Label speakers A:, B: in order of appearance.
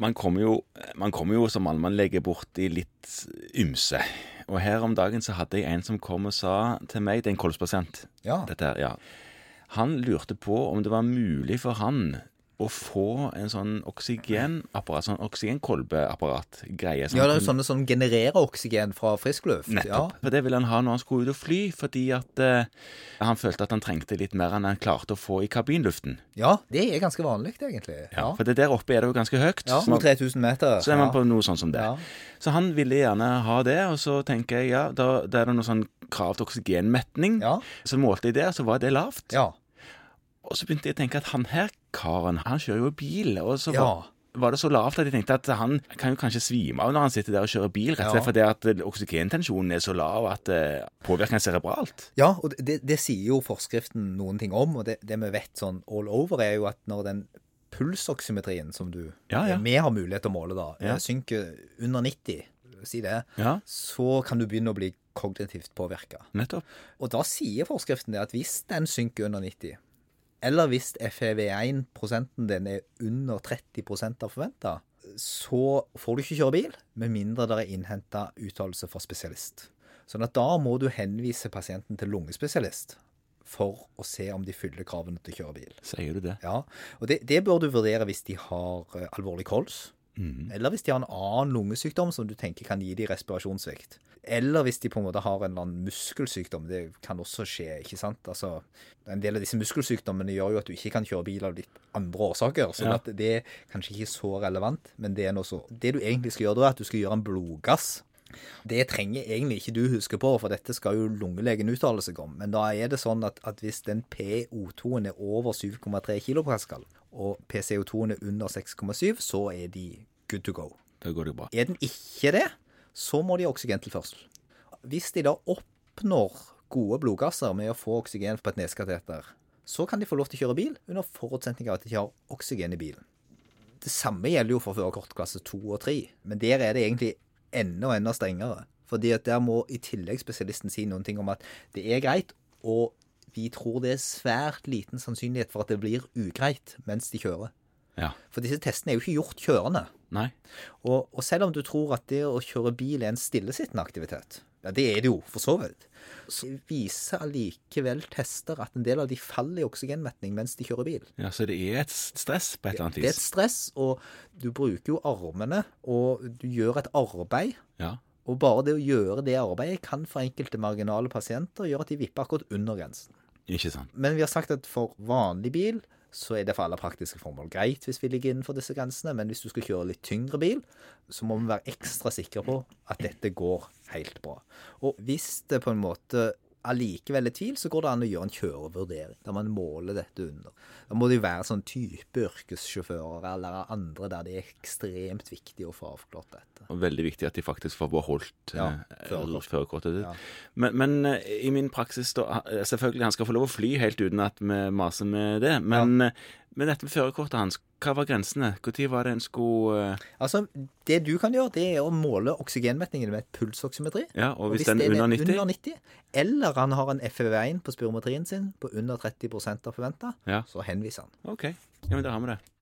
A: man kommer jo, man kommer jo som allmannlege borti litt ymse. Og her om dagen så hadde jeg en som kom og sa til meg Det er en kolspasient.
B: Ja.
A: Dette her, ja. Han lurte på om det var mulig for han å få en sånn oksygenapparat, sånn oksygenkolbeapparat, greie. som
B: Ja, det
A: kunne-
B: er jo sånne som genererer oksygen fra frisk luft.
A: Nettopp. For det ville han ha når han skulle ut og fly, fordi at eh, han følte at han trengte litt mer enn han klarte å få i kabinluften.
B: Ja. ja, det er ganske vanlig, egentlig. Ja,
A: For det der oppe er det jo ganske høyt.
B: ja.
A: så man-
B: 3000 meter.
A: så er man på noe sånn som det.
B: Ja.
A: Så han ville gjerne ha det, og så tenker jeg ja, da, da er det noe sånn krav til oksygenmetning.
B: Ja.
A: Så målte jeg det, og så var det lavt.
B: Ja.
A: Og så begynte jeg å tenke at han her karen, han kjører jo bil, og så
B: Ja.
A: var, var det så lavt at jeg tenkte at han kan jo kanskje svime av når han sitter der og kjører bil, rett og slett
B: Ja.
A: fordi at eh, oksygentensjonen er så lav at eh, påvirker han cerebralt.
B: Ja, og det, det sier jo forskriften noen ting om, og det, det vi vet sånn all over, er jo at når den pulsoksymetrien som du
A: Ja, ja.
B: vi har mulighet til å måle, da, eh,
A: Ja.
B: synker under 90, si det,
A: Ja,
B: så kan du begynne å bli kognitivt påvirka.
A: nettopp.
B: Og da sier forskriften det at hvis den synker under 90, eller hvis E FEV1-prosenten din er under 30 av forventa, så får du ikke kjøre bil med mindre det er innhenta uttalelse fra spesialist. Sånn at da må du henvise pasienten til lungespesialist for å se om de fyller kravene til å kjøre bil.
A: Sier du det?
B: Ja, og det, det bør du vurdere hvis de har eh, alvorlig kols.
A: Mm.
B: Mm. Eller hvis de har en annen lungesykdom som du tenker kan gi de respirasjonssvikt. Eller hvis de på en måte har en eller annen muskelsykdom. Det kan også skje, ikke sant. Altså, en del av disse muskelsykdommene gjør jo at du ikke kan kjøre bil av litt andre årsaker. Så
A: Ja.
B: at det er kanskje ikke så relevant, men det er nå så. Det du egentlig skal gjøre da, er at du skal gjøre en blodgass. Det trenger egentlig ikke du huske på, for dette skal jo lungelegen uttale seg om. Men da er det sånn at, at hvis den PO2-en er over 7,3 kilopascal, og PCO2-en er under 6,7, så er de good to go.
A: Da går det jo bra.
B: Er den ikke det, så må de ha oksygentilførsel. Hvis de da oppnår gode blodgasser med å få oksygen på et neskateter, så kan de få lov til å kjøre bil, under forutsetning av at de ikke har oksygen i bilen. Det samme gjelder jo for førerkort klasse 2 og 3, men der er det egentlig enda enda strengere. Fordi at der må i tillegg spesialisten si noen ting om at det er greit, og vi tror det er svært liten sannsynlighet for at det blir ugreit mens de kjører.
A: Ja.
B: For disse testene er jo ikke gjort kjørende.
A: Nei.
B: Og, og selv om du tror at det å kjøre bil er en stillesittende aktivitet, ja, det er det jo, for så vidt, så viser allikevel tester at en del av de faller i oksygenmetning mens de kjører bil.
A: Ja, Så det er et stress på et eller annet
B: Det er et
A: vis?
B: stress, og du bruker jo armene, og du gjør et arbeid.
A: Ja.
B: Og bare det å gjøre det arbeidet kan for enkelte marginale pasienter gjøre at de vipper akkurat under grensen.
A: Ikke sant.
B: Men vi har sagt at for vanlig bil så er det for alle praktiske formål greit hvis vi ligger innenfor disse grensene, men hvis du skal kjøre litt tyngre bil, så må vi være ekstra sikre på at dette går helt bra. Og hvis det på en måte allikevel er tvil, så går det an å gjøre en kjørevurdering, der man måler dette under. Da må det jo være sånn type yrkessjåfører eller andre der det er ekstremt viktig å få avklart dette.
A: Og veldig viktig at de faktisk får beholdt
B: Ja,
A: eh,
B: førerkort.
A: førerkortet ditt.
B: Ja.
A: Men, men eh, i min praksis da, eh, Selvfølgelig, han skal få lov å fly helt uten at vi maser med det. Men, eh, men dette med førerkortet hans, hva var grensene? Når var det en skulle eh,
B: Altså, det du kan gjøre, det er å måle oksygenmetningen med et pulsoksymetri.
A: Ja, og hvis
B: det
A: den er under 90?
B: under 90, eller han har en FEV1 på spirometrien sin på under 30 av forventa,
A: Ja.
B: så henviser han.
A: OK. Ja, men da har vi det.